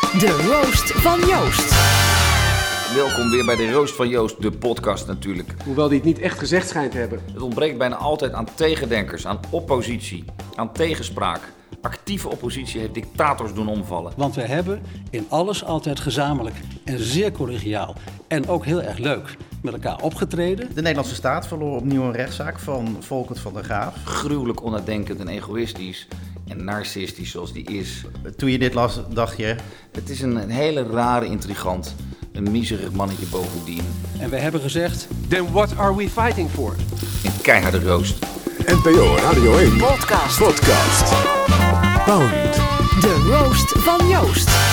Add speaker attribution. Speaker 1: De Roost van Joost.
Speaker 2: Welkom weer bij de Roost van Joost, de podcast natuurlijk.
Speaker 3: Hoewel die het niet echt gezegd schijnt te hebben.
Speaker 2: Het ontbreekt bijna altijd aan tegendenkers, aan oppositie, aan tegenspraak. Actieve oppositie heeft dictators doen omvallen.
Speaker 4: Want we hebben in alles altijd gezamenlijk en zeer collegiaal en ook heel erg leuk met elkaar opgetreden.
Speaker 5: De Nederlandse staat verloor opnieuw een rechtszaak van Volkert van der Graaf.
Speaker 2: Gruwelijk onnadenkend en egoïstisch en narcistisch zoals die is.
Speaker 5: Toen je dit las, dacht je,
Speaker 2: Het is een, een hele rare intrigant. Een miserig mannetje bovendien.
Speaker 4: En we hebben gezegd,
Speaker 3: Then what are we fighting for?
Speaker 2: Een keiharde roost.
Speaker 6: NPO Radio 1
Speaker 1: Podcast.
Speaker 6: Podcast. Bound.
Speaker 1: De Roost van Joost.